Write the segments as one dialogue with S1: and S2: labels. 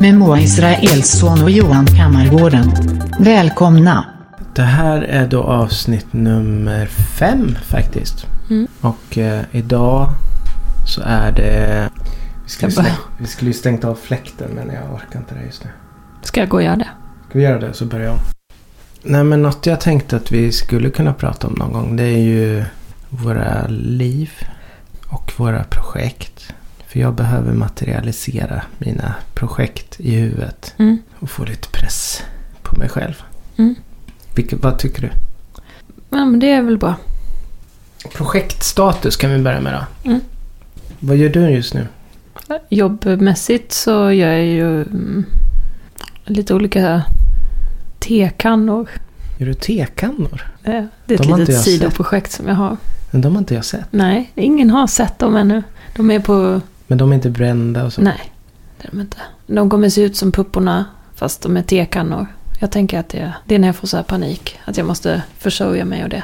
S1: Med Moa Israelsson och Johan Kammargården. Välkomna!
S2: Det här är då avsnitt nummer fem faktiskt.
S3: Mm.
S2: Och eh, idag så är det... Vi skulle,
S3: Ska jag
S2: slä- vi skulle ju stängt av fläkten men jag orkar inte det just nu.
S3: Ska jag gå och göra det?
S2: Ska vi göra det så börjar jag om. Nej men något jag tänkte att vi skulle kunna prata om någon gång det är ju våra liv och våra projekt. För jag behöver materialisera mina projekt i huvudet
S3: Mm.
S2: och få lite press på mig själv.
S3: Mm.
S2: Vilket, vad tycker du?
S3: Ja, men det är väl bra.
S2: Projektstatus kan vi börja med då.
S3: Mm.
S2: Vad gör du just nu?
S3: Jobbmässigt så gör jag ju mm, lite olika tekannor.
S2: Gör du tekannor?
S3: Eh, Det
S2: De har
S3: är ett
S2: inte
S3: litet
S2: jag
S3: sidoprojekt som jag har.
S2: Men de har inte jag sett.
S3: Nej, ingen har sett dem ännu. De är på...
S2: Men de är inte brända och så.
S3: Nej, det är de inte. De kommer se ut som pupporna fast de är tekannor. Jag tänker att det, det är när jag får så här panik. Att jag måste försörja mig och det.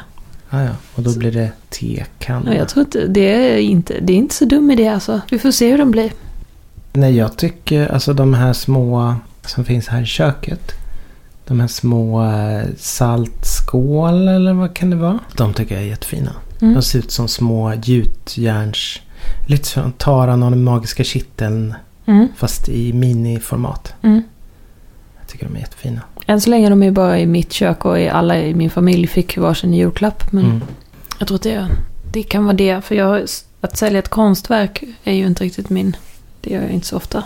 S2: Ah, ja. Och då blir det tekannor.
S3: Och jag tror inte det är inte, det är inte så dum idé alltså. Vi får se hur de blir.
S2: Nej, jag tycker alltså de här små som finns här i köket. De här små eh, saltskål eller vad kan det vara? De tycker jag är jättefina.
S3: Mm.
S2: De ser ut som små gjutjärns... Lite som Taran och den magiska kitteln
S3: Mm.
S2: fast i miniformat.
S3: Mm.
S2: Jag tycker de är jättefina.
S3: Än så länge de är bara i mitt kök och i alla i min familj fick varsin julklapp. Men
S2: Mm.
S3: jag tror att det, det kan vara det. För jag, att sälja ett konstverk är ju inte riktigt min... Det gör jag inte så ofta.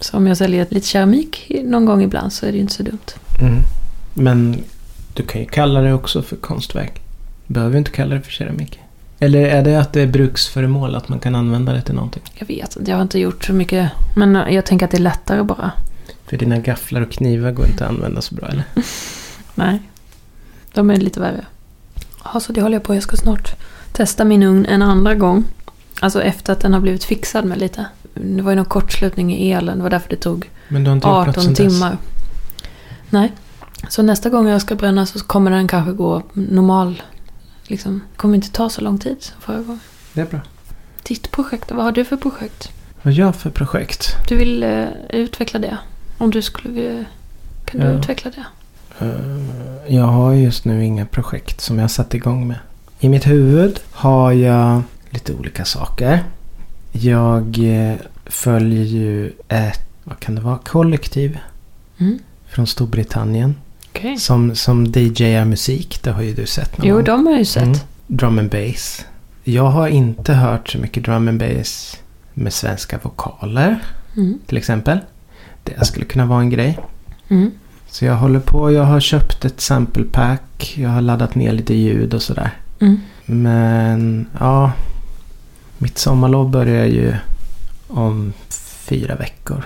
S3: Så om jag säljer lite keramik någon gång ibland så är det ju inte så dumt.
S2: Mm. Men du kan ju kalla det också för konstverk. Du behöver ju inte kalla det för keramik. Eller är det att det är bruksföremål, att man kan använda det till någonting?
S3: Jag vet inte, jag har inte gjort så mycket. Men jag tänker att det är lättare bara.
S2: För dina gafflar och knivar går inte att använda så bra, eller?
S3: Nej. De är lite värre. Ja, så det håller jag på. Jag ska snart testa min ugn en andra gång. Alltså efter att den har blivit fixad med lite. Det var ju någon kortslutning i elen. Det var därför det tog
S2: Men du har inte gjort något
S3: 18
S2: sedan dess.
S3: timmar. Nej. Så nästa gång jag ska bränna så kommer den kanske gå normal. Liksom, det kommer inte ta så lång tid som förra gången.
S2: Det är bra.
S3: Ditt projekt, vad har du för projekt?
S2: Vad gör jag för projekt?
S3: Du vill eh, utveckla det? Om du skulle vilja... Kan du
S2: Ja.
S3: utveckla det?
S2: Eh, Jag har just nu inga projekt som jag har satt igång med. I mitt huvud har jag lite olika saker. Jag eh, följer ju ett, vad kan det vara, kollektiv
S3: Mm.
S2: från Storbritannien.
S3: Okej.
S2: Som, som DJar musik, det har ju du sett någon
S3: Jo,
S2: gång.
S3: de har jag ju sett.
S2: Mm. Drum and bass. Jag har inte hört så mycket drum and bass med svenska vokaler
S3: Mm.
S2: till exempel. Det skulle kunna vara en grej.
S3: Mm.
S2: Så jag håller på, jag har köpt ett sample pack, jag har laddat ner lite ljud och sådär.
S3: Mm.
S2: Men ja, mitt sommarlov börjar ju om fyra veckor.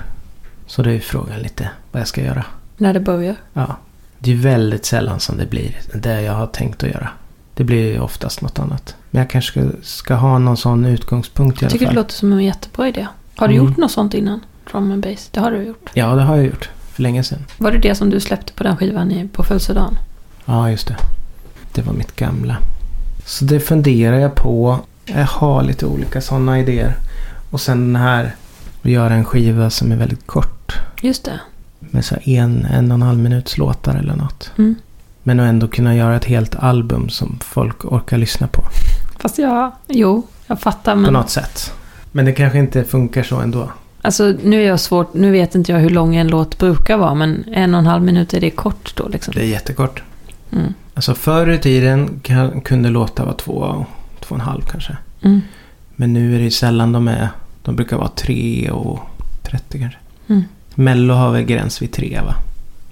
S2: Så det är ju frågan lite vad jag ska göra.
S3: När det börjar.
S2: Ja. Det är ju väldigt sällan som det blir det jag har tänkt att göra. Det blir ju oftast något annat. Men jag kanske ska, ska ha någon sån utgångspunkt i
S3: Jag
S2: alla
S3: tycker det
S2: fall.
S3: låter som en jättebra idé. Har du
S2: Mm.
S3: gjort något sånt innan? Drum and bass? Det har du gjort.
S2: Ja, det har jag gjort. För länge sedan.
S3: Var det det som du släppte på den skivan i, på födelsedagen?
S2: Ja, just det. Det var mitt gamla. Så det funderar jag på. Jag har lite olika sådana idéer. Och sen den här. Att göra en skiva som är väldigt kort.
S3: Just det.
S2: Med så här en, en och en halv minuts låtar eller något.
S3: Mm.
S2: Men att ändå kunna göra ett helt album som folk orkar lyssna på.
S3: Fast jag... Jo, jag fattar
S2: På
S3: men...
S2: något sätt. Men det kanske inte funkar så ändå.
S3: Alltså nu är jag svårt... Nu vet inte jag hur lång en låt brukar vara men en och en halv minut är det kort då liksom.
S2: Det är jättekort.
S3: Mm.
S2: Alltså förr i tiden kan, kunde låta vara två, två och en halv kanske.
S3: Mm.
S2: Men nu är det ju sällan de är. De brukar vara tre och 30 kanske.
S3: Mm.
S2: Mello har väl gräns vid tre va?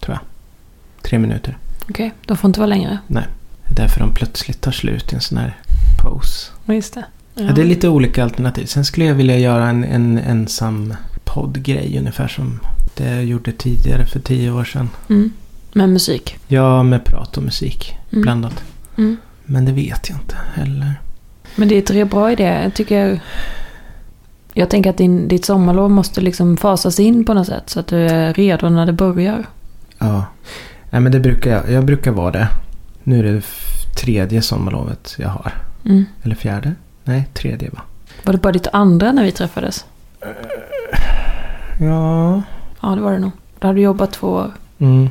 S2: Tror jag. Tre minuter.
S3: Okej, de får inte vara längre.
S2: Det är därför de plötsligt tar slut i en sån här pose.
S3: Ja, Just det. Ja.
S2: Ja. det är lite olika alternativ. Sen skulle jag vilja göra en, en ensam poddgrej ungefär som det jag gjorde tidigare för tio år sedan.
S3: Mm. Med musik.
S2: Ja, med prat och musik
S3: Mm.
S2: blandat.
S3: Mm.
S2: Men det vet jag inte heller.
S3: Men det är tre bra idéer. Jag tycker... Jag tänker att din, ditt sommarlov måste liksom fasas in på något sätt så att du är redo när det börjar.
S2: Ja. Nej, men det brukar jag. Jag brukar vara det. Nu är det f- tredje sommarlovet jag har.
S3: Mm.
S2: Eller fjärde? Nej, tredje va?
S3: Var det bara ditt andra när vi träffades?
S2: Ja.
S3: Ja, det var det nog. Då hade du jobbat två år.
S2: Mm.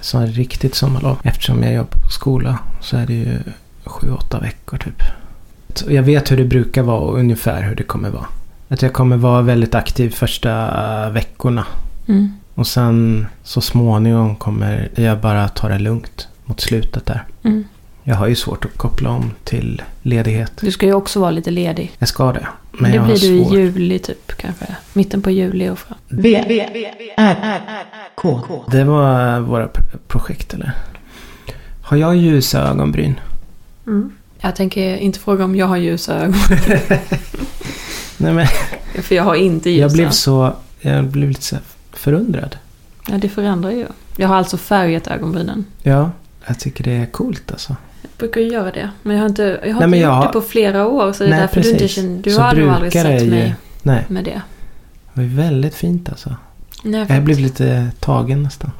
S2: Så här riktigt sommarlov. Eftersom jag jobbar på skola så är det ju sju, åtta veckor typ. Så jag vet hur det brukar vara och ungefär hur det kommer vara. Att jag kommer vara väldigt aktiv första veckorna.
S3: Mm.
S2: Och sen så småningom kommer jag bara ta det lugnt mot slutet där.
S3: Mm.
S2: Jag har ju svårt att koppla om till ledighet.
S3: Du ska ju också vara lite ledig.
S2: Jag ska det. Men
S3: Men det
S2: jag
S3: blir
S2: har
S3: du
S2: svårt.
S3: i juli typ kanske. Mitten på juli och fram.
S1: V, V, R, R, R, K.
S2: Det var våra pr- projekt eller? Har jag ljusa ögonbryn?
S3: Mm. Jag tänker inte fråga om jag har ljusa ögon.
S2: Nej men
S3: För jag har inte ljusa.
S2: jag blev så... Jag blev lite så här förundrad.
S3: Ja, det förändrar ju. Jag har alltså färgat ögonbrynen.
S2: Ja, jag tycker det är coolt alltså.
S3: Jag brukar ju göra det. Men jag har inte, jag
S2: Nej,
S3: har
S2: men
S3: inte
S2: jag
S3: gjort
S2: har-
S3: det på flera år. Så det är
S2: Nej,
S3: därför du inte
S2: precis.
S3: känner... Du
S2: Så
S3: har nog aldrig
S2: brukar
S3: sett
S2: det ju-
S3: mig
S2: Nej,
S3: med det.
S2: det var väldigt fint alltså.
S3: Nej,
S2: Jag
S3: faktiskt.
S2: blev lite tagen nästan.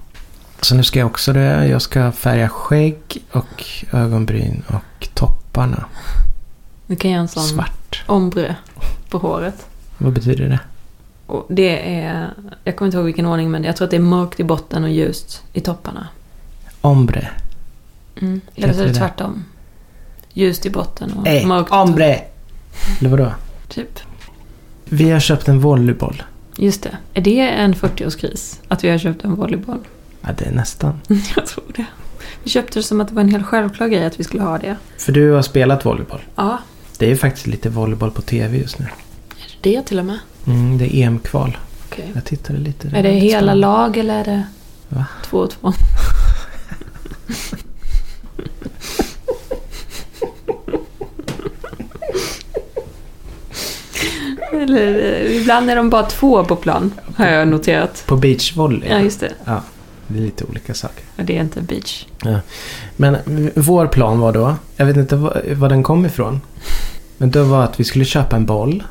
S2: Så nu ska jag också det. Jag ska färga skägg och ögonbryn och topparna
S3: Nu kan jag göra en sån
S2: svart.
S3: ombre på håret.
S2: Vad betyder det?
S3: Och det är... Jag kommer inte ihåg vilken ordning men jag tror att det är mörkt i botten och ljust i topparna.
S2: Ombre.
S3: Mm. Eller så är
S2: Heter
S3: det
S2: det?
S3: tvärtom. Ljust i botten och
S2: Nej,
S3: mörkt.
S2: ombre! Eller vadå?
S3: Typ.
S2: Vi har köpt en volleyboll.
S3: Just det. Är det en 40-årskris? Att vi har köpt en volleyboll?
S2: Ja, det är nästan.
S3: Jag tror det. Vi köpte det som att det var en helt självklar grej att vi skulle ha det.
S2: För du har spelat volleyboll.
S3: Ja,
S2: Det är ju faktiskt lite volleyboll på tv just nu.
S3: är det det till och med?
S2: Mm, det är EM-kval.
S3: Okej.
S2: Jag tittade lite.
S3: Är det
S2: var lite
S3: hela
S2: spännande.
S3: lag eller är det
S2: Va?
S3: två och två? eller, eh, ibland är de bara två på plan, har jag noterat.
S2: På beachvolley?
S3: Ja, just det.
S2: ja, det är lite olika saker.
S3: Och det är inte beach.
S2: Men v- vår plan var då, jag vet inte var, var den kom ifrån. Men det var att vi skulle köpa en boll.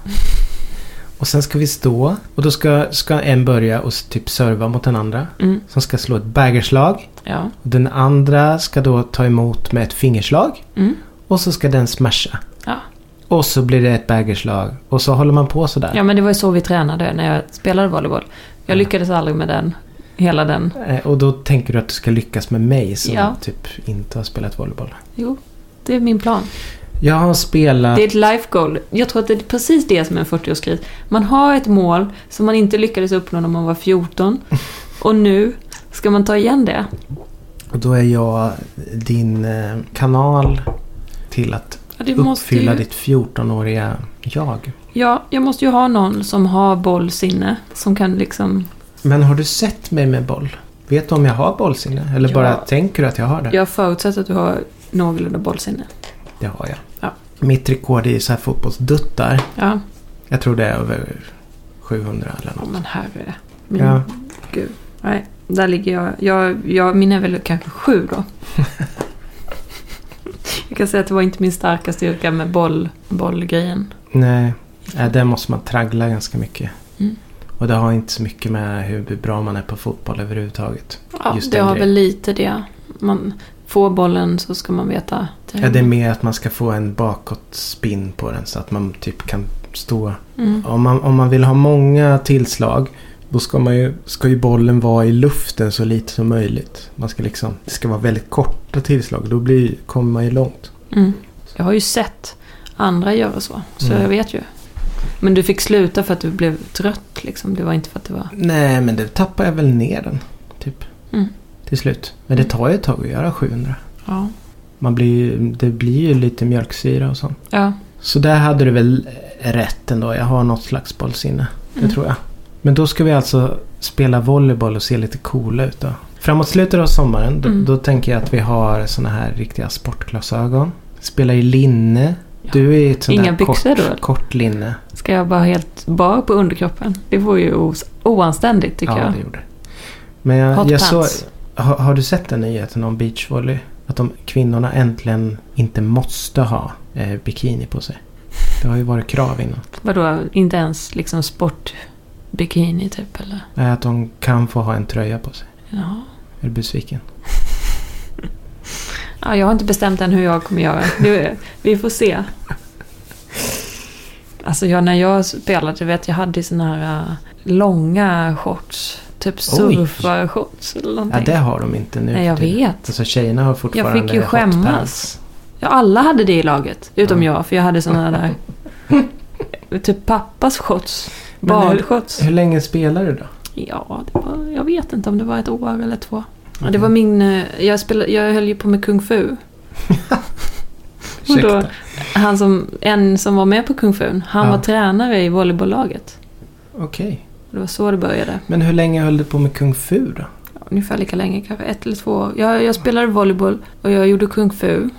S2: Och sen ska vi stå. Och då ska, ska en börja och s- typ serva mot den andra.
S3: Mm.
S2: Som ska slå ett baggerslag.
S3: Ja.
S2: Och den andra ska då ta emot med ett fingerslag.
S3: Mm.
S2: Och så ska den smasha.
S3: Ja.
S2: Och så blir det ett baggerslag. Och så håller man på sådär.
S3: ja, men det var ju så vi tränade när jag spelade volleyboll. Jag lyckades aldrig med den, hela den
S2: Eh, Och då tänker du att du ska lyckas med mig som
S3: Ja.
S2: typ inte har spelat volleyboll.
S3: Jo, det är min plan.
S2: Jag har spelat...
S3: Det är ett life goal. Jag tror att det är precis det som är en 40-årskris. Man har ett mål som man inte lyckades uppnå när man var 14 och nu ska man ta igen det.
S2: Och då är jag din eh, kanal till att
S3: Ja, det måste
S2: uppfylla
S3: ju,
S2: ditt 14-åriga jag.
S3: ja, jag måste ju ha någon som har bollsinne. Som kan liksom...
S2: Men har du sett mig med boll? Vet du om jag har bollsinne? Eller
S3: Ja.
S2: bara tänker du att jag har det?
S3: Jag förutsätter att du har någorlunda bollsinne.
S2: Det har jag.
S3: Ja.
S2: Mitt rekord i så här fotbollsduttar,
S3: Ja,
S2: jag tror det är över 700 eller
S3: oh,
S2: något.
S3: men herre. Min
S2: Ja.
S3: gud. Nej, där ligger jag. jag, jag min är väl kanske sju då. jag kan säga att det var inte min starka styrka med boll, bollgrejen.
S2: Nej, äh, där måste man traggla ganska mycket.
S3: Mm.
S2: Och det har inte så mycket med hur bra man är på fotboll överhuvudtaget.
S3: Ja,
S2: Just
S3: det
S2: den
S3: har
S2: grejen.
S3: väl lite det. Man får bollen så ska man veta.
S2: Ja, det är mer att man ska få en bakåtspinn på den så att man typ kan stå
S3: mm.
S2: Om man, om man vill ha många tillslag då ska, man ju, ska ju bollen vara i luften så lite som möjligt. Man ska liksom, det ska vara väldigt korta tillslag. Då blir, kommer man ju långt.
S3: Mm. Jag har ju sett andra göra så. Så
S2: Mm.
S3: jag vet ju. Men du fick sluta för att du blev trött liksom. Det var inte för att det var...
S2: Nej, men det tappar jag väl ner den. Typ.
S3: Mm.
S2: Till slut. Men det tar ju ett tag att göra 700.
S3: Ja.
S2: Man blir, ju- det blir ju lite mjölksyra och sånt.
S3: Ja.
S2: Så där hade du väl eh, rätt ändå. Jag har något slags bollsinne.
S3: Mm.
S2: Det tror jag. Men då ska vi alltså spela volleyboll och se lite coola ut då. Framåt slutet av sommaren då,
S3: Mm.
S2: då tänker jag att vi har såna här riktiga sportglasögon. Spelar i linne. Du är i ett sånt
S3: Inga
S2: där kort,
S3: byxor då, eller?
S2: kort linne.
S3: Ska jag vara helt bar på underkroppen? Det vore ju os- oanständigt tycker
S2: ja,
S3: jag.
S2: det gjorde Men jag,
S3: Hot
S2: jag såg...
S3: pants.
S2: Har, har du sett den nyheten om beachvolley? Att de kvinnorna äntligen inte måste ha eh, bikini på sig. Det har ju varit krav innan.
S3: Vadå, inte ens liksom sportbikini typ eller?
S2: Eh, Att de kan få ha en tröja på sig.
S3: Ja.
S2: Är du besviken?
S3: Ja, jag har inte bestämt än hur jag kommer göra. Nu, vi får se. Alltså jag, när jag spelade, du vet jag hade ju såna här äh, långa shorts. Typ surfarshorts eller
S2: Ja,
S3: någonting.
S2: det har de inte nu.
S3: Nej, jag
S2: för tiden.
S3: vet.
S2: Alltså tjejerna har fortfarande
S3: Jag fick ju
S2: hot
S3: skämmas.
S2: pants.
S3: Ja, alla hade det i laget. Utom jag, för jag hade såna där... typ pappas shorts.
S2: Men hur-
S3: Badshorts.
S2: Hur länge spelar du då?
S3: Ja, det var, jag vet inte om det var ett år eller två. Ja,
S2: Mhm.
S3: Det var min... eh, Jag, spelade, jag höll ju på med kung fu. Och då-
S2: Ursäkta.
S3: Han som, en som var med på kung fu, han
S2: Ja.
S3: var tränare i volleybollaget.
S2: Okej.
S3: Det var så det började.
S2: Men hur länge höll du på med kung fu då?
S3: Ungefär lika länge, kanske ett eller två år. Jag, jag spelade volleyboll och jag gjorde kung fu.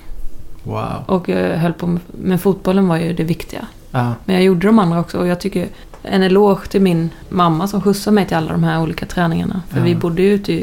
S2: Wow.
S3: Och jag höll på med, men fotbollen var ju det viktiga.
S2: Ja,
S3: Men jag gjorde de andra också och jag tycker en eloge till min mamma som skjutsade mig till alla de här olika träningarna. För
S2: Ja.
S3: vi bodde ju ute i,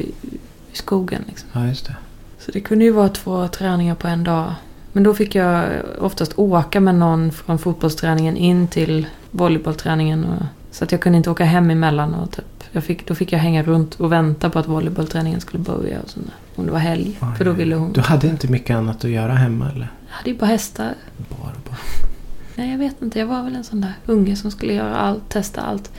S3: i skogen liksom.
S2: ja just det.
S3: Så det kunde ju vara två träningar på en dag. Men då fick jag oftast åka med någon från fotbollsträningen in till volleybollträningen. Och, så att jag kunde inte åka hem emellan. Och typ, jag fick, då fick jag hänga runt och vänta på att volleybollträningen skulle börja. Och sånt där. Om det var helg.
S2: Oj,
S3: för då ville hon...
S2: Du hade inte mycket annat att göra hemma eller?
S3: Jag hade ju bara hästar.
S2: Bara, bara.
S3: Nej, jag vet inte. Jag var väl en sån där unge som skulle göra allt, testa allt.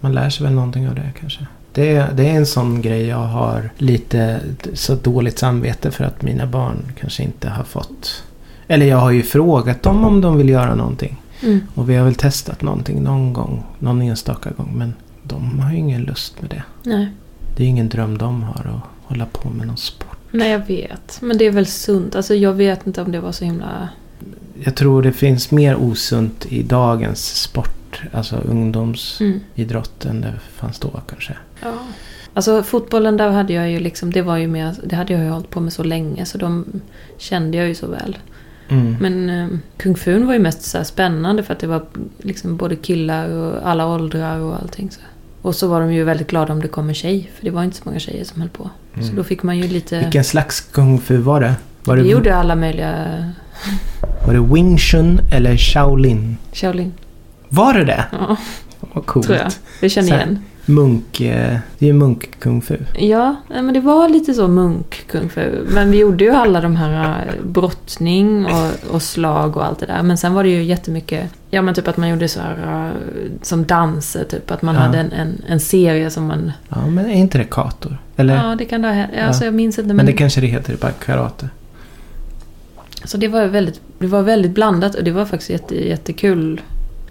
S2: Man lär sig väl någonting av det kanske. Det är, det är en sån grej jag har lite så dåligt samvete för att mina barn kanske inte har fått. Eller jag har ju frågat dem om de vill göra någonting.
S3: Mm.
S2: Och vi har väl testat någonting någon gång. Någon enstaka gång. Men de har ju ingen lust med det.
S3: Nej.
S2: Det är ju ingen dröm de har att hålla på med någon sport.
S3: Nej, jag vet. Men det är väl sunt. Alltså, jag vet inte om det var så himla...
S2: Jag tror det finns mer osunt i dagens sport. Alltså ungdomsidrott
S3: Mm.
S2: än det fanns då kanske.
S3: Ja. Alltså fotbollen där hade jag ju liksom, det var ju mer, det hade jag ju hållit på med så länge så de kände jag ju så väl.
S2: Mm.
S3: Men eh, kung fun var ju mest så här spännande för att det var liksom både killar och alla åldrar och allting. Så. Och så var de ju väldigt glada om det kom en tjej, för det var inte så många tjejer som höll på. Så
S2: Mm.
S3: då fick man ju lite...
S2: Vilken slags kung fu var det? Var det,
S3: det gjorde alla möjliga...
S2: var det Wing Chun eller Shaolin?
S3: Shaolin.
S2: Var det det?
S3: Ja,
S2: Vad coolt.
S3: tror jag. Jag känner
S2: Så här.
S3: igen.
S2: Munk, eh, det är ju munk-kung fu.
S3: Ja, nej, men det var lite så munk kung fu. Men vi gjorde ju alla de här eh, brottning och, och slag och allt det där. Men sen var det ju jättemycket, ja men typ att man gjorde så här eh, som danser typ. Att man
S2: Ja.
S3: hade en, en, en serie som man,
S2: Ja, men är inte det kator? Eller?
S3: ja det kan det ha hänt. Ja,
S2: Ja.
S3: Alltså jag minns inte men,
S2: men det kanske det heter, bara karate.
S3: så det var väldigt, det var väldigt blandat och det var faktiskt jätte, jättekul.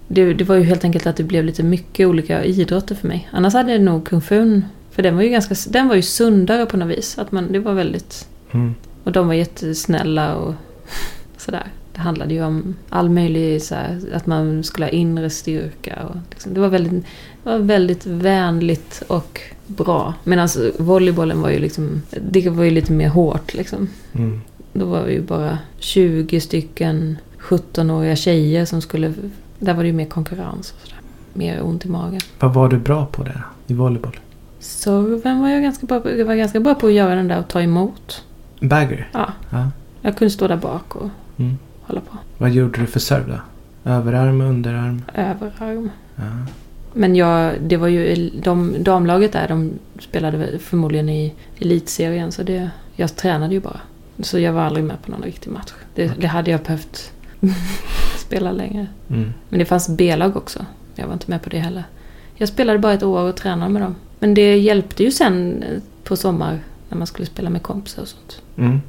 S3: Det, det var ju helt enkelt att det blev lite mycket olika idrotter för mig. Annars hade jag nog kung fun, för den var ju ganska, den var ju sundare på något vis. Att man, det var väldigt
S2: Mm.
S3: Och de var jättesnälla och sådär. Det handlade ju om all möjlig, så här, att man skulle ha inre styrka. Och liksom, det, var väldigt, det var väldigt vänligt och bra. Medan volleybollen var ju liksom, det var ju lite mer hårt liksom.
S2: Mm.
S3: Då var det ju bara 20 stycken 17-åriga tjejer som skulle, där var det ju mer konkurrens och sådär. Mer ont i magen.
S2: Vad var du bra på där i volleyboll?
S3: Serven var jag ganska bra på, jag var ganska bra på att göra den där och ta emot.
S2: Bagger?
S3: Ja,
S2: Ja.
S3: jag kunde stå där bak och
S2: Mm.
S3: hålla på.
S2: Vad gjorde du för serve då? Överarm, underarm?
S3: överarm.
S2: Ja.
S3: Men jag, det var ju, de, damlaget där, de spelade väl förmodligen i elitserien. Så det, jag tränade ju bara. Så jag var aldrig med på någon riktig match. Det, det hade jag behövt spela längre.
S2: Mm.
S3: Men det fanns B-lag också. Jag var inte med på det heller. Jag spelade bara ett år och tränade med dem. Men det hjälpte ju sen eh, på sommar när man skulle spela med kompisar och sånt.
S2: Mm.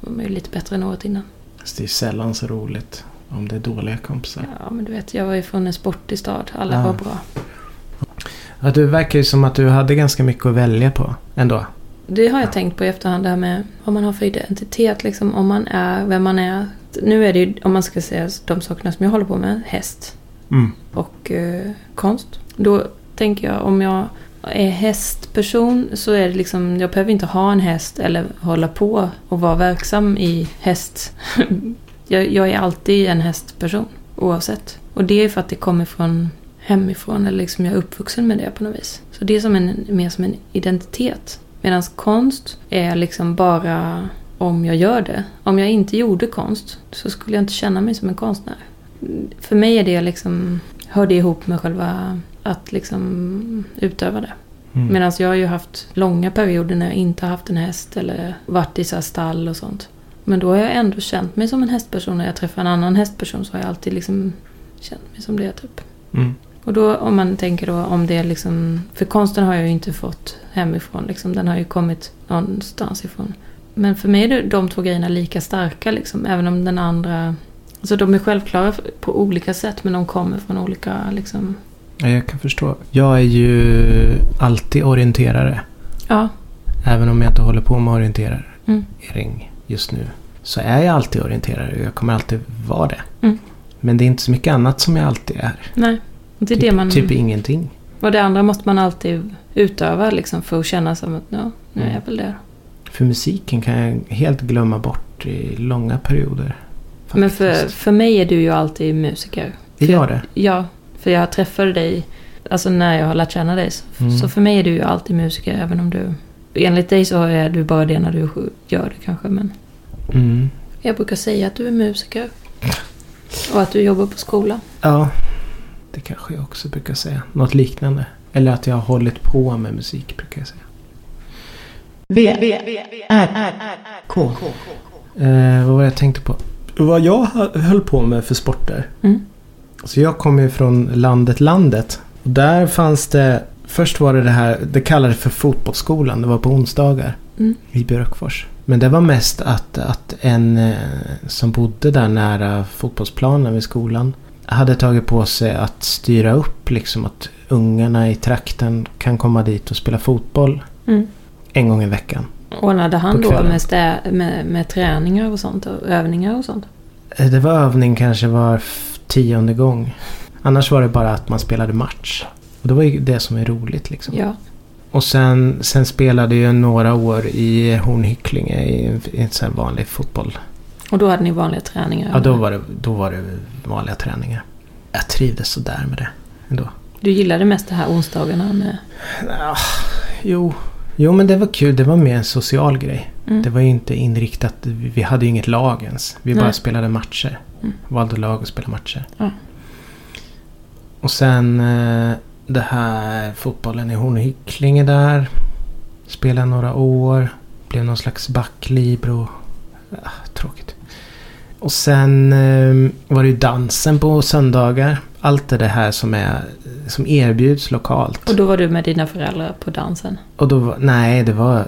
S3: Då var man ju lite bättre än året innan.
S2: Fast det är sällan så roligt om det är dåliga kompisar.
S3: Ja, men du vet, jag var ju från en sportig stad. Alla
S2: Ja.
S3: var bra.
S2: Ja, du verkar ju som att du hade ganska mycket att välja på ändå.
S3: Det har jag tänkt på i efterhand, det här med vad man har för identitet, liksom, om man är, vem man är. Nu är det ju, om man ska säga de sakerna som jag håller på med, häst
S2: Mm.
S3: och eh, konst. Då tänker jag, om jag är hästperson så är det liksom, jag behöver inte ha en häst eller hålla på och vara verksam i häst. jag, jag är alltid en hästperson, oavsett. Och det är för att det kommer från hemifrån eller liksom jag är uppvuxen med det på något vis. Så det är som en, mer som en identitet. Medan konst är liksom bara om jag gör det. Om jag inte gjorde konst så skulle jag inte känna mig som en konstnär. För mig är det liksom, hör det ihop med själva att liksom utöva det.
S2: Mm.
S3: Medan jag har ju haft långa perioder när jag inte har haft en häst eller varit i så här stall och sånt. Men då har jag ändå känt mig som en hästperson. När jag träffar en annan hästperson så har jag alltid liksom känt mig som det typ.
S2: Mm.
S3: Och då om man tänker då om det är liksom... För konsten har jag ju inte fått hemifrån liksom. Den har ju kommit någonstans ifrån. Men för mig är det- de två grejerna lika starka liksom. Även om den andra... Alltså de är självklara på olika sätt men de kommer från olika liksom...
S2: Ja, jag kan förstå. Jag är ju alltid orienterare.
S3: Ja.
S2: Även om jag inte håller på med orienterare
S3: Mm.
S2: ring just nu. Så är jag alltid orienterare och jag kommer alltid vara det.
S3: Mm.
S2: Men det är inte så mycket annat som jag alltid är.
S3: Nej. Det är
S2: typ,
S3: det man...
S2: typ ingenting.
S3: Och det andra måste man alltid utöva liksom för att känna som att ja, nu är jag väl det.
S2: För musiken kan jag helt glömma bort i långa perioder.
S3: Men för,
S2: faktiskt.
S3: för mig är du ju alltid musiker.
S2: Det gör det.
S3: Ja, för jag träffade dig, alltså när jag har lärt känna dig. Så,
S2: Mm.
S3: så för mig är du ju alltid musiker även om du... Enligt dig så är du bara det när du gör det kanske men...
S2: Mm.
S3: Jag brukar säga att du är musiker. Och att du jobbar på skola.
S2: Ja, det kanske jag också brukar säga. Något liknande. Eller att jag har hållit på med musik brukar jag säga.
S1: V, V, R, K.
S2: Eh, vad var det jag tänkte på? Vad jag hö- höll på med för sporter.
S3: Mm.
S2: Så jag kommer ju från landet landet. Och där fanns det, först var det det här, det kallades för fotbollsskolan, det var på onsdagar
S3: Mm.
S2: i Björkfors. Men det var mest att, att en eh, som bodde där nära fotbollsplanen vid skolan hade tagit på sig att styra upp liksom att ungarna i trakten kan komma dit och spela fotboll
S3: Mm.
S2: en gång i veckan.
S3: Ordnade han
S2: På
S3: då
S2: kvällen.
S3: med, stä- med, med träningar och sånt och övningar och sånt?
S2: Eh, Det var övning kanske var f- tionde gång. Annars var det bara att man spelade match. Och det var ju det som är roligt liksom.
S3: Ja.
S2: Och sen, sen spelade jag några år i Hornhycklinge i en, i en sån här vanlig fotboll.
S3: Och då hade ni vanliga träningar?
S2: Ja, då var det, då var det vanliga träningar. Jag trivdes sådär med det ändå.
S3: Du gillade mest det här onsdagarna med...
S2: Ah, jo. jo, men det var kul. Det var mer en social grej.
S3: Mm.
S2: Det var ju inte inriktat. Vi vi hade ju inget lag ens. Vi bara
S3: Nej.
S2: spelade matcher.
S3: Mm.
S2: Valde lag och spelade matcher.
S3: Ja.
S2: Och sen eh, det här fotbollen i Hornhycklinge där. Spelade några år. Blev någon slags backlibro. Ah, tråkigt. Och sen eh, var det ju dansen på söndagar. Allt det här som, är, som erbjuds lokalt.
S3: Och då var du med dina föräldrar på dansen?
S2: Och då, var- nej, det var...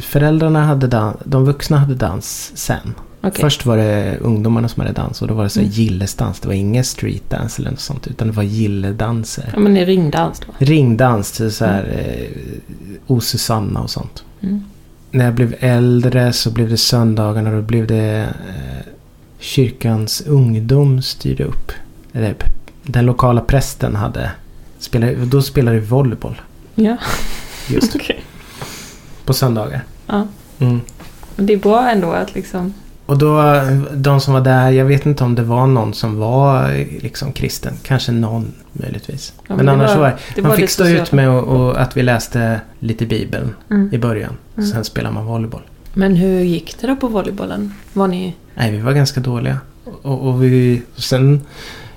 S2: Föräldrarna hade dans, de vuxna hade dans sen.
S3: Okej.
S2: Först var det ungdomarna som hade dans och då var det så här
S3: Mm.
S2: gillesdans. Det var ingen streetdance eller något sånt utan det var gilledanser.
S3: Ja men ni ringde alltså då?
S2: Ringdans till så här eh, O Susanna och sånt.
S3: Mm.
S2: När jag blev äldre så blev det söndagarna och då blev det eh, kyrkans ungdom styrde upp. Eller, den lokala prästen hade... Spelade, då spelade vi volleyboll
S3: Ja,
S2: just
S3: okej.
S2: på söndagar.
S3: Ja.
S2: Mm.
S3: Men det är bra ändå att liksom...
S2: Och då, de som var där, jag vet inte om det var någon som var eh, liksom kristen. Kanske någon möjligtvis.
S3: Ja, men
S2: men,
S3: det
S2: annars
S3: var-
S2: var, var
S3: Det
S2: det. Man
S3: var
S2: fick
S3: det
S2: stå ut
S3: sociala.
S2: med och, och att vi läste lite Bibeln i
S3: Mm.
S2: början.
S3: Mm.
S2: Sen spelade man volleyboll.
S3: Men hur gick det då på volleybollen? Var ni...
S2: Nej, vi var ganska dåliga. Och, och vi, och sen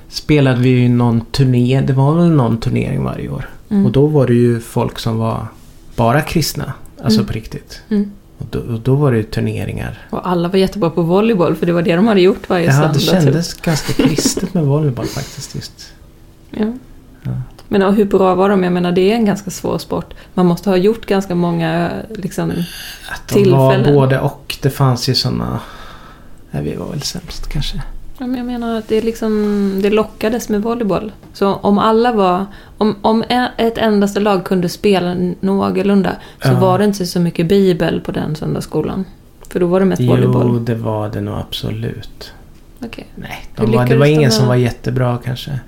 S2: spelade vi ju någon turné. Det var väl någon turnering varje år.
S3: Mm.
S2: Och då var det ju folk som var bara kristna. Alltså
S3: Mm.
S2: på riktigt.
S3: Mm.
S2: Och då, och då var det ju turneringar
S3: Och alla var jättebra på volleyboll för det var det de hade gjort varje
S2: Ja,
S3: söndag.
S2: det
S3: Typ.
S2: kändes ganska kristet med volleyboll faktiskt. Just.
S3: Ja.
S2: Ja.
S3: Men och hur bra var de? Jag menar det är en ganska svår sport. Man måste ha gjort ganska många eh, liksom...
S2: Att de var
S3: Tillfällen.
S2: både och. Det fanns ju sådana... Nej, vi var väl sämst kanske.
S3: Ja, men jag menar att det, är liksom, det lockades med volleyboll. Så om alla var... Om, om e- ett endaste lag kunde spela n- någorlunda så
S2: Ja.
S3: var det inte så mycket bibel på den söndagsskolan. För då var det mest
S2: Jo,
S3: volleyboll.
S2: det var det nog absolut.
S3: Okej.
S2: Nej,
S3: Hur
S2: de var, det
S3: lyckades
S2: var
S3: de
S2: ingen
S3: med
S2: som
S3: det?
S2: var jättebra kanske.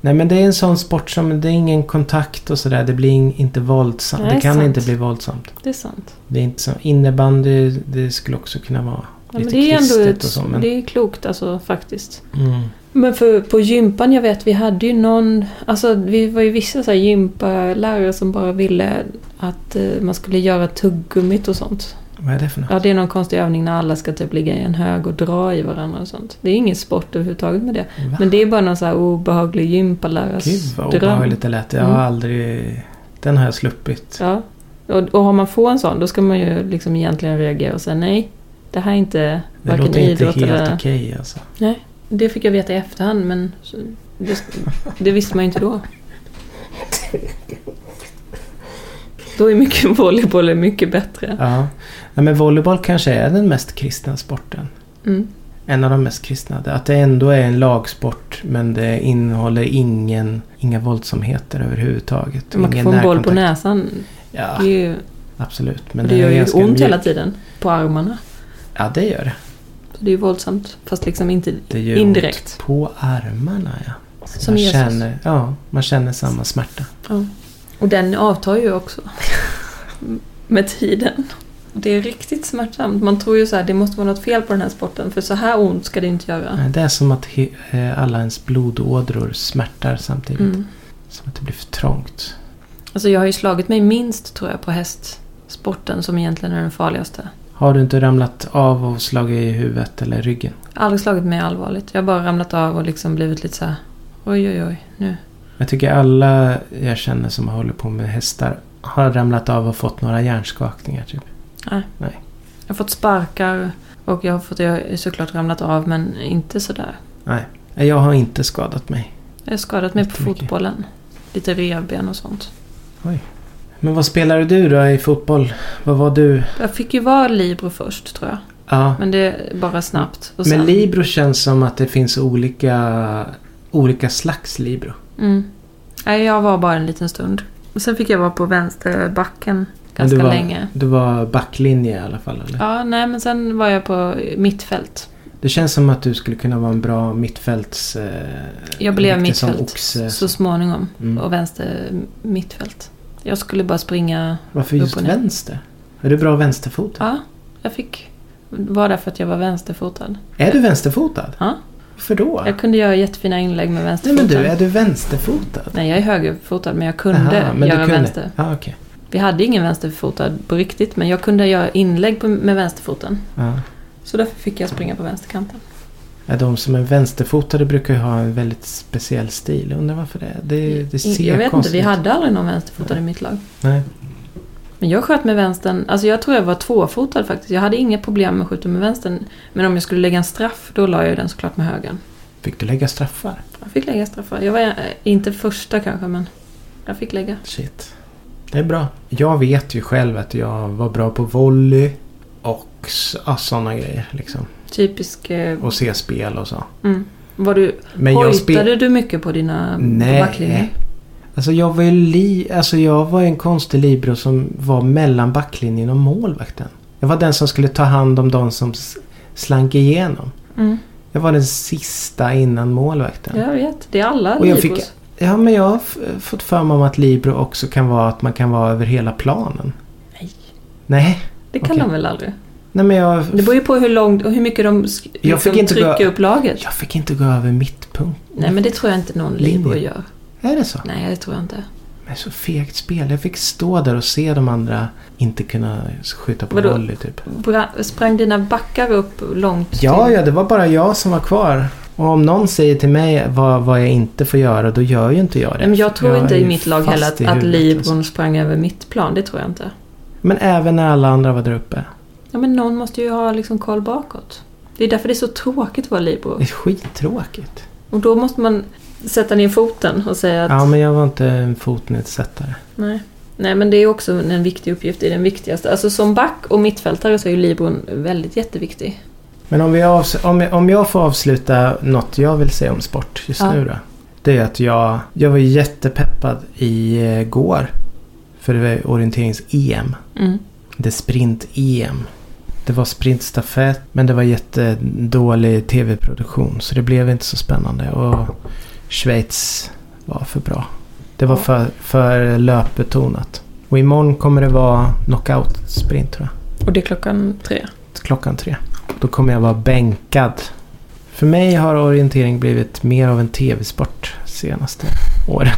S2: Nej, men det är en sån sport som... Det är ingen kontakt och sådär. Det blir in- inte våldsamt.
S3: Nej,
S2: det kan
S3: sant.
S2: inte bli våldsamt.
S3: Det är sant.
S2: Det är inte som innebandy. Det skulle också kunna vara
S3: Ja, men
S2: lite
S3: det är ändå
S2: kristet
S3: ett,
S2: och så. Men,
S3: Det är klokt alltså faktiskt.
S2: mm.
S3: Men för, på gympan, jag vet, vi hade ju någon... Alltså vi var ju vissa så här gympalärare som bara ville att eh, man skulle göra tuggummit och sånt.
S2: Vad är det för något?
S3: Ja, det är någon konstig övning när alla ska typ ligga i en hög och dra i varandra och sånt. Det är ingen sport överhuvudtaget med det.
S2: Va?
S3: Men det är bara någon så här obehaglig gympalärares
S2: Gud vad
S3: dröm. Mm.
S2: obehagligt det lät. Jag har aldrig... Den har jag sluppit.
S3: Ja. Och, och har man får en sån, då ska man ju liksom egentligen reagera och säga nej. Det här är inte
S2: Det
S3: varken
S2: låter inte
S3: idrott
S2: helt
S3: eller...
S2: okej alltså.
S3: Det fick jag veta i efterhand men så- det, det visste man ju inte då. Då är mycket volleyboll är mycket bättre.
S2: Ja. Nej, men volleyboll kanske är den mest kristna sporten.
S3: Mm.
S2: En av de mest kristna. Att det ändå är en lagsport men det innehåller ingen, inga våldsamheter överhuvudtaget.
S3: Man kan
S2: ingen
S3: få en boll på
S2: närkontakt.
S3: näsan.
S2: Ja,
S3: Det, är ju,
S2: absolut. Men
S3: det
S2: den
S3: gör
S2: är
S3: ju
S2: ganska
S3: ont
S2: mjuk.
S3: hela tiden på armarna.
S2: Ja, det gör det.
S3: Så det är ju våldsamt. Fast liksom inte
S2: Det gör
S3: indirekt.
S2: ont på armarna, ja.
S3: Som
S2: man
S3: Jesus.
S2: Känner, ja, man känner samma smärta.
S3: Ja. Och den avtar ju också. Med tiden. Och Det är riktigt smärtsamt. Man tror ju så här, det måste vara något fel på den här sporten. För så här ont ska det inte göra.
S2: Nej, Det är som att he- eh, alla ens blodådror smärtar samtidigt.
S3: Mm.
S2: Som att det blir för trångt.
S3: Alltså jag har ju slagit mig minst tror jag på hästsporten som egentligen är den farligaste.
S2: Har du inte ramlat av och slagit i huvudet eller ryggen?
S3: Jag har aldrig slagit mig allvarligt. Jag har bara ramlat av och liksom blivit lite så här. Oj oj oj nu.
S2: Jag tycker alla jag känner som håller på med hästar har ramlat av och fått några hjärnskakningar. Typ.
S3: Jag har fått sparkar och jag har fått, jag har såklart ramlat av men inte sådär.
S2: Nej, Jag har inte skadat mig.
S3: Jag har skadat mig på
S2: Jättemycket.
S3: fotbollen. Lite revben och sånt.
S2: Men vad spelade du då i fotboll? Vad var du?
S3: Jag fick ju vara Libro först tror jag.
S2: Ja.
S3: Men det är bara snabbt. Och
S2: Men
S3: sen-
S2: Libro känns som att det finns olika, olika slags Libro.
S3: Mm. Nej, jag var bara en liten stund. Och sen fick jag vara på vänsterbacken ganska
S2: du var,
S3: länge.
S2: Du var backlinje i alla fall eller?
S3: Ja, nej men sen var jag på mittfält.
S2: Det känns som att du skulle kunna vara en bra mittfälts... Eh,
S3: Jag blev
S2: riktig sån
S3: mittfält
S2: oxe.
S3: så småningom.
S2: Mm.
S3: Och vänster mittfält. Jag skulle bara springa.
S2: Varför
S3: upp
S2: just
S3: och ner.
S2: vänster? Är du bra vänsterfotad?
S3: Ja, jag fick vara där för att jag var vänsterfotad.
S2: Är du vänsterfotad?
S3: Ja.
S2: Varför då?
S3: Jag kunde göra jättefina inlägg med
S2: Nej
S3: vänsterfoten.
S2: men du, är du vänsterfotad?
S3: Nej, jag är högerfotad men jag kunde
S2: Aha, men
S3: göra
S2: du kunde.
S3: vänster.
S2: Ja, okej.
S3: Vi hade ingen vänsterfotad på riktigt men jag kunde göra inlägg på, med vänsterfoten.
S2: Ja.
S3: Så därför fick jag springa på vänsterkanten.
S2: Ja, de som är vänsterfotade brukar ju ha en väldigt speciell stil. Jag undrar varför det är. Det, det ser
S3: jag vet inte,
S2: konstigt
S3: vi hade aldrig någon vänsterfotad i mitt lag.
S2: Nej.
S3: Men jag sköt med vänstern, alltså jag tror jag var tvåfotad faktiskt. Jag hade inga problem med att skjuta med vänstern. Men om jag skulle lägga en straff, då la jag den såklart med högern.
S2: Fick du lägga straffar?
S3: Jag fick lägga straffar. Jag var eh, inte första kanske, men jag fick lägga.
S2: Shit. Det är bra. Jag vet ju själv att jag var bra på volley och sådana grejer. Liksom.
S3: Typisk... eh,
S2: Och se spel och så.
S3: Mm. Var du,
S2: Men jag spel-
S3: hojtade du mycket på dina
S2: Nej.
S3: backlinjer?
S2: Alltså jag var ju li- alltså jag var ju en konstig libero som var mellan backlinjen och målvakten. Jag var den som skulle ta hand om de som s- slank igenom.
S3: Mm.
S2: Jag var den sista innan målvakten.
S3: Jag vet, det är alla
S2: Och jag
S3: libros.
S2: fick- Ja, men jag har f- fått för mig om att libero också kan vara att man kan vara över hela planen.
S3: Nej.
S2: Nej.
S3: Det kan
S2: Okej.
S3: de väl aldrig?
S2: Nej men jag...
S3: Det beror ju på hur långt och hur mycket de sk-
S2: Jag fick
S3: liksom
S2: inte gå-
S3: trycker upp laget.
S2: Jag fick inte gå över mittpunkt.
S3: Nej men det tror jag inte någon
S2: Linje.
S3: libero gör.
S2: Är det så?
S3: Nej det tror jag inte.
S2: Men så fegt spel. Jag fick stå där och se de andra inte kunna skjuta på
S3: Vadå?
S2: volley typ.
S3: Bra, sprang dina backar upp långt?
S2: Ja,
S3: till-
S2: ja, det var bara jag som var kvar. Och om någon säger till mig vad, vad jag inte får göra, då gör ju inte jag det.
S3: Nej, Men jag tror
S2: Jag
S3: inte
S2: är
S3: i
S2: ju
S3: mitt lag
S2: fast
S3: heller att,
S2: i
S3: att
S2: huvudet, alltså.
S3: libron sprang över mitt plan. Det tror jag inte.
S2: Men även när alla andra var där uppe.
S3: Ja men någon måste ju ha liksom koll bakåt. Det är därför det är så tråkigt att vara libero.
S2: Det är skittråkigt.
S3: Och då måste man sätta ner foten och säga att
S2: Ja, men jag var inte en fotnedsättare.
S3: nej. Nej men det är också en viktig uppgift. Det är den viktigaste. Alltså som back och mittfältare så är ju libron väldigt jätteviktig.
S2: Men om, vi avs- om, om jag får avsluta något jag vill säga om sport just
S3: Ja.
S2: nu då. Det är att jag, jag var jättepeppad igår. För det var ju orienterings-EM.
S3: Mm.
S2: Det är sprint-EM. E Det var sprintstafett men det var jättedålig tv-produktion så det blev inte så spännande. Och Schweiz var för bra. Det var
S3: Ja.
S2: för, för löpbetonat. Och imorgon kommer det vara knockout-sprint tror jag.
S3: Och det är klockan tre.
S2: Klockan tre. Då kommer jag vara bänkad. För mig har orientering blivit mer av en tv-sport senaste åren.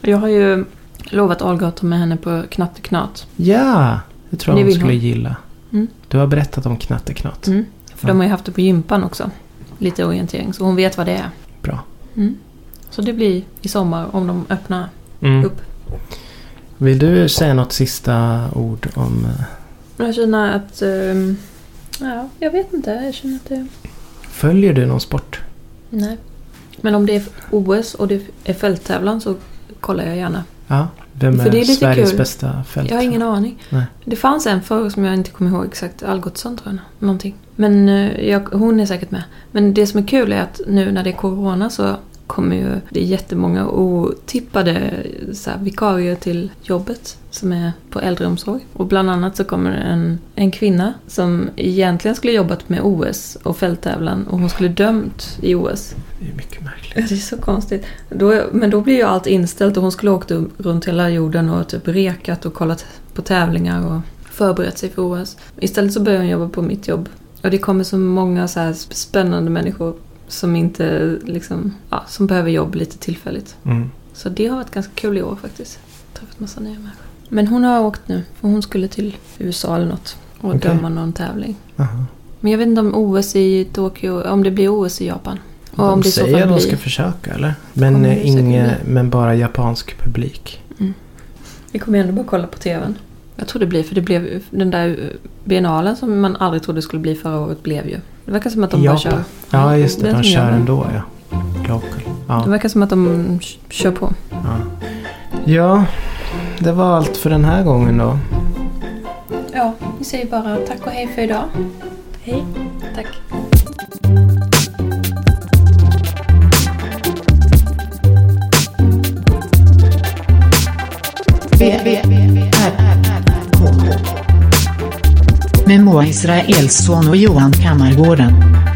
S3: Jag har ju lovat Olga att ta med henne på knatteknat.
S2: Ja! Det tror
S3: Det
S2: jag hon
S3: vill
S2: skulle
S3: hon.
S2: gilla.
S3: Mm.
S2: Du har berättat om knatteknat.
S3: Mm. För de har ju haft det på gympan också. Lite orientering. Så hon vet vad det är.
S2: Bra.
S3: Mm. Så det blir i sommar om de öppnar.
S2: Mm.
S3: upp.
S2: Vill du säga något sista ord om... eh,
S3: Jag känner att ehm, Ja, jag vet inte. Jag känner att det...
S2: Följer du någon sport?
S3: Nej. Men om det är OS och det är fälttävlan så kollar jag gärna.
S2: Ja. Vem
S3: För
S2: är,
S3: det är lite
S2: Sveriges
S3: kul.
S2: bästa fält?
S3: Jag har ingen aning.
S2: Nej.
S3: Det fanns en förr som jag inte kommer ihåg exakt. Algotsson tror jag. Någonting. Men eh, jag, hon är säkert med. Men det som är kul är att nu när det är corona så kommer ju det är jättemånga otippade så här, vikarier till jobbet som är på äldreomsorg. Och bland annat så kommer en, en kvinna som egentligen skulle jobbat med OS och fälttävlan och hon skulle dömt i OS.
S2: Det är mycket märkligt.
S3: Det är så konstigt. Då, men då blir ju allt inställt och hon skulle ha åkt runt hela jorden och typ rekat och kollat på tävlingar och förberett sig för OS. Istället så börjar hon jobba på mitt jobb. Och det kommer så många så här spännande människor som inte liksom, ja, som behöver jobb lite tillfälligt.
S2: Mm.
S3: Så det har varit ganska kul i år faktiskt. Träffat massa nya människor. Men hon har åkt nu, för hon skulle till USA eller något och
S2: Okej.
S3: döma någon tävling.
S2: Aha.
S3: Men jag vet inte om OS i Tokyo, om det blir OS i Japan. Och
S2: De
S3: om det i så
S2: säger
S3: fall
S2: att de
S3: blir...
S2: ska försöka eller? Men,
S3: Kommer det
S2: eh, inge,
S3: säkert
S2: men bara japansk publik.
S3: Vi kommer ändå bara kolla på TVn. Jag tror det blir, för det blev ju- den där eh, biennalen som man aldrig trodde skulle bli förra året blev ju. Det verkar som att de bara
S2: Japan.
S3: kör.
S2: Ja just det,
S3: Mm, Den
S2: de
S3: som gör
S2: kör
S3: den.
S2: ändå ja. Local. Ja.
S3: Det verkar som att de k- kör på.
S2: ja, det var allt för den här gången då.
S3: Ja, vi säger bara tack och hej för idag. Hej. Tack.
S1: V, V, R, R, K. Med Moa Israelsson och Johan Kammargården.